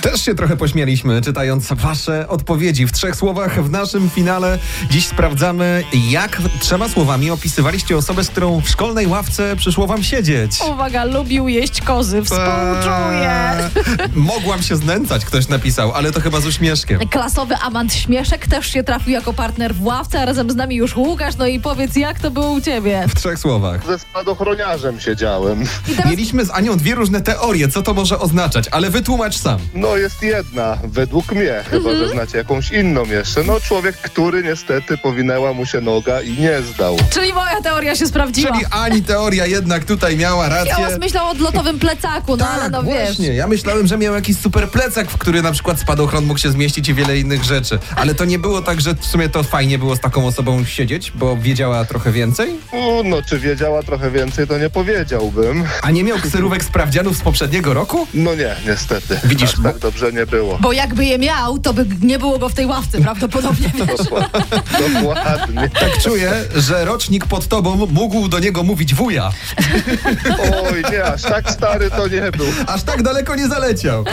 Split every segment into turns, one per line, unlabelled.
też się trochę pośmieliśmy, czytając wasze odpowiedzi. W trzech słowach w naszym finale dziś sprawdzamy, jak trzema słowami opisywaliście osobę, z którą w szkolnej ławce przyszło wam siedzieć.
Uwaga, lubił jeść kozy, współczuję.
Eee, Mogłam się znęcać, ktoś napisał, ale to chyba z uśmieszkiem.
Eee. Klasowy amant śmieszek też się trafił jako partner w ławce, a razem z nami już Łukasz. No i powiedz, jak to było u ciebie?
W trzech słowach.
Ze spadochroniarzem siedziałem.
I teraz
Mieliśmy z Anią dwie różne teorie, co to może oznaczać, ale wytłumacz sam.
No jest jedna, według mnie, chyba że znacie jakąś inną jeszcze. No człowiek, który niestety powinęła mu się noga i nie zdał.
Czyli moja teoria się sprawdziła.
Czyli Ani teoria jednak tutaj miała rację.
Ja was myślał o odlotowym plecaku, no ale
tak,
no wiesz.
właśnie. Ja myślałem, że miał jakiś super plecak, w który na przykład spadochron mógł się zmieścić i wiele innych rzeczy. Ale to nie było tak, że w sumie to fajnie było z taką osobą siedzieć, bo wiedziała trochę więcej?
U, no czy wiedziała trochę więcej, to nie powiedziałbym.
A nie miał kserówek sprawdzianów z poprzedniego roku?
No nie, niestety.
Widzisz,
Aż
bo-
tak dobrze nie było.
Bo jakby je miał, to by nie było go w tej ławce prawdopodobnie, wiesz.
Dokładnie. Dokładnie.
Tak czuję, że rocznik pod tobą mógł do niego mówić wuja.
Oj, nie, aż tak stary to nie był.
Aż tak daleko nie zaleciał.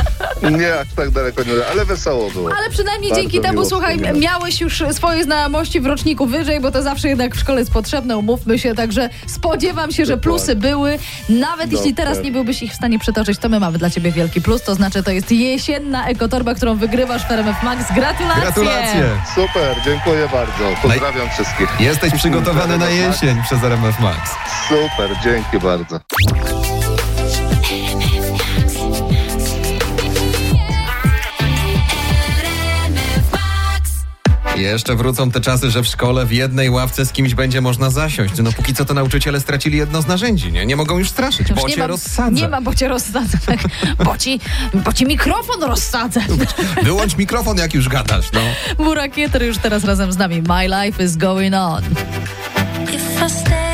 Nie, aż tak daleko nie, ale wesoło było.
Ale przynajmniej
Bardzo
dzięki temu,
miło
słuchaj,
wspominać.
miałeś już swoje znajomości w roczniku wyżej, bo to zawsze jednak w szkole jest potrzebne, umówmy się, także spodziewam się, że
Dokładnie.
plusy były. Nawet jeśli
Dokładnie.
teraz nie byłbyś ich w stanie przytoczyć, to my mamy dla ciebie wielki plus, to znaczy to jest jesienna ekotorba, którą wygrywasz w RMF Max. Gratulacje!
Gratulacje.
Super, dziękuję bardzo. Pozdrawiam wszystkich.
Jesteś przygotowany na jesień przez RMF Max.
Super, dzięki bardzo.
RMF Max.
Jeszcze wrócą te czasy, że w szkole w jednej ławce z kimś będzie można zasiąść. No póki co to nauczyciele stracili jedno z narzędzi, nie? Nie mogą już straszyć,
Już
bo
nie
cię
mam-
rozsadza.
Nie mam, bo cię rozsadzę. tak. Bo ci, bo ci mikrofon rozsadzę.
Wyłącz mikrofon, jak już gadasz, no.
Murakieter już teraz razem z nami. My life is going on.
If I stay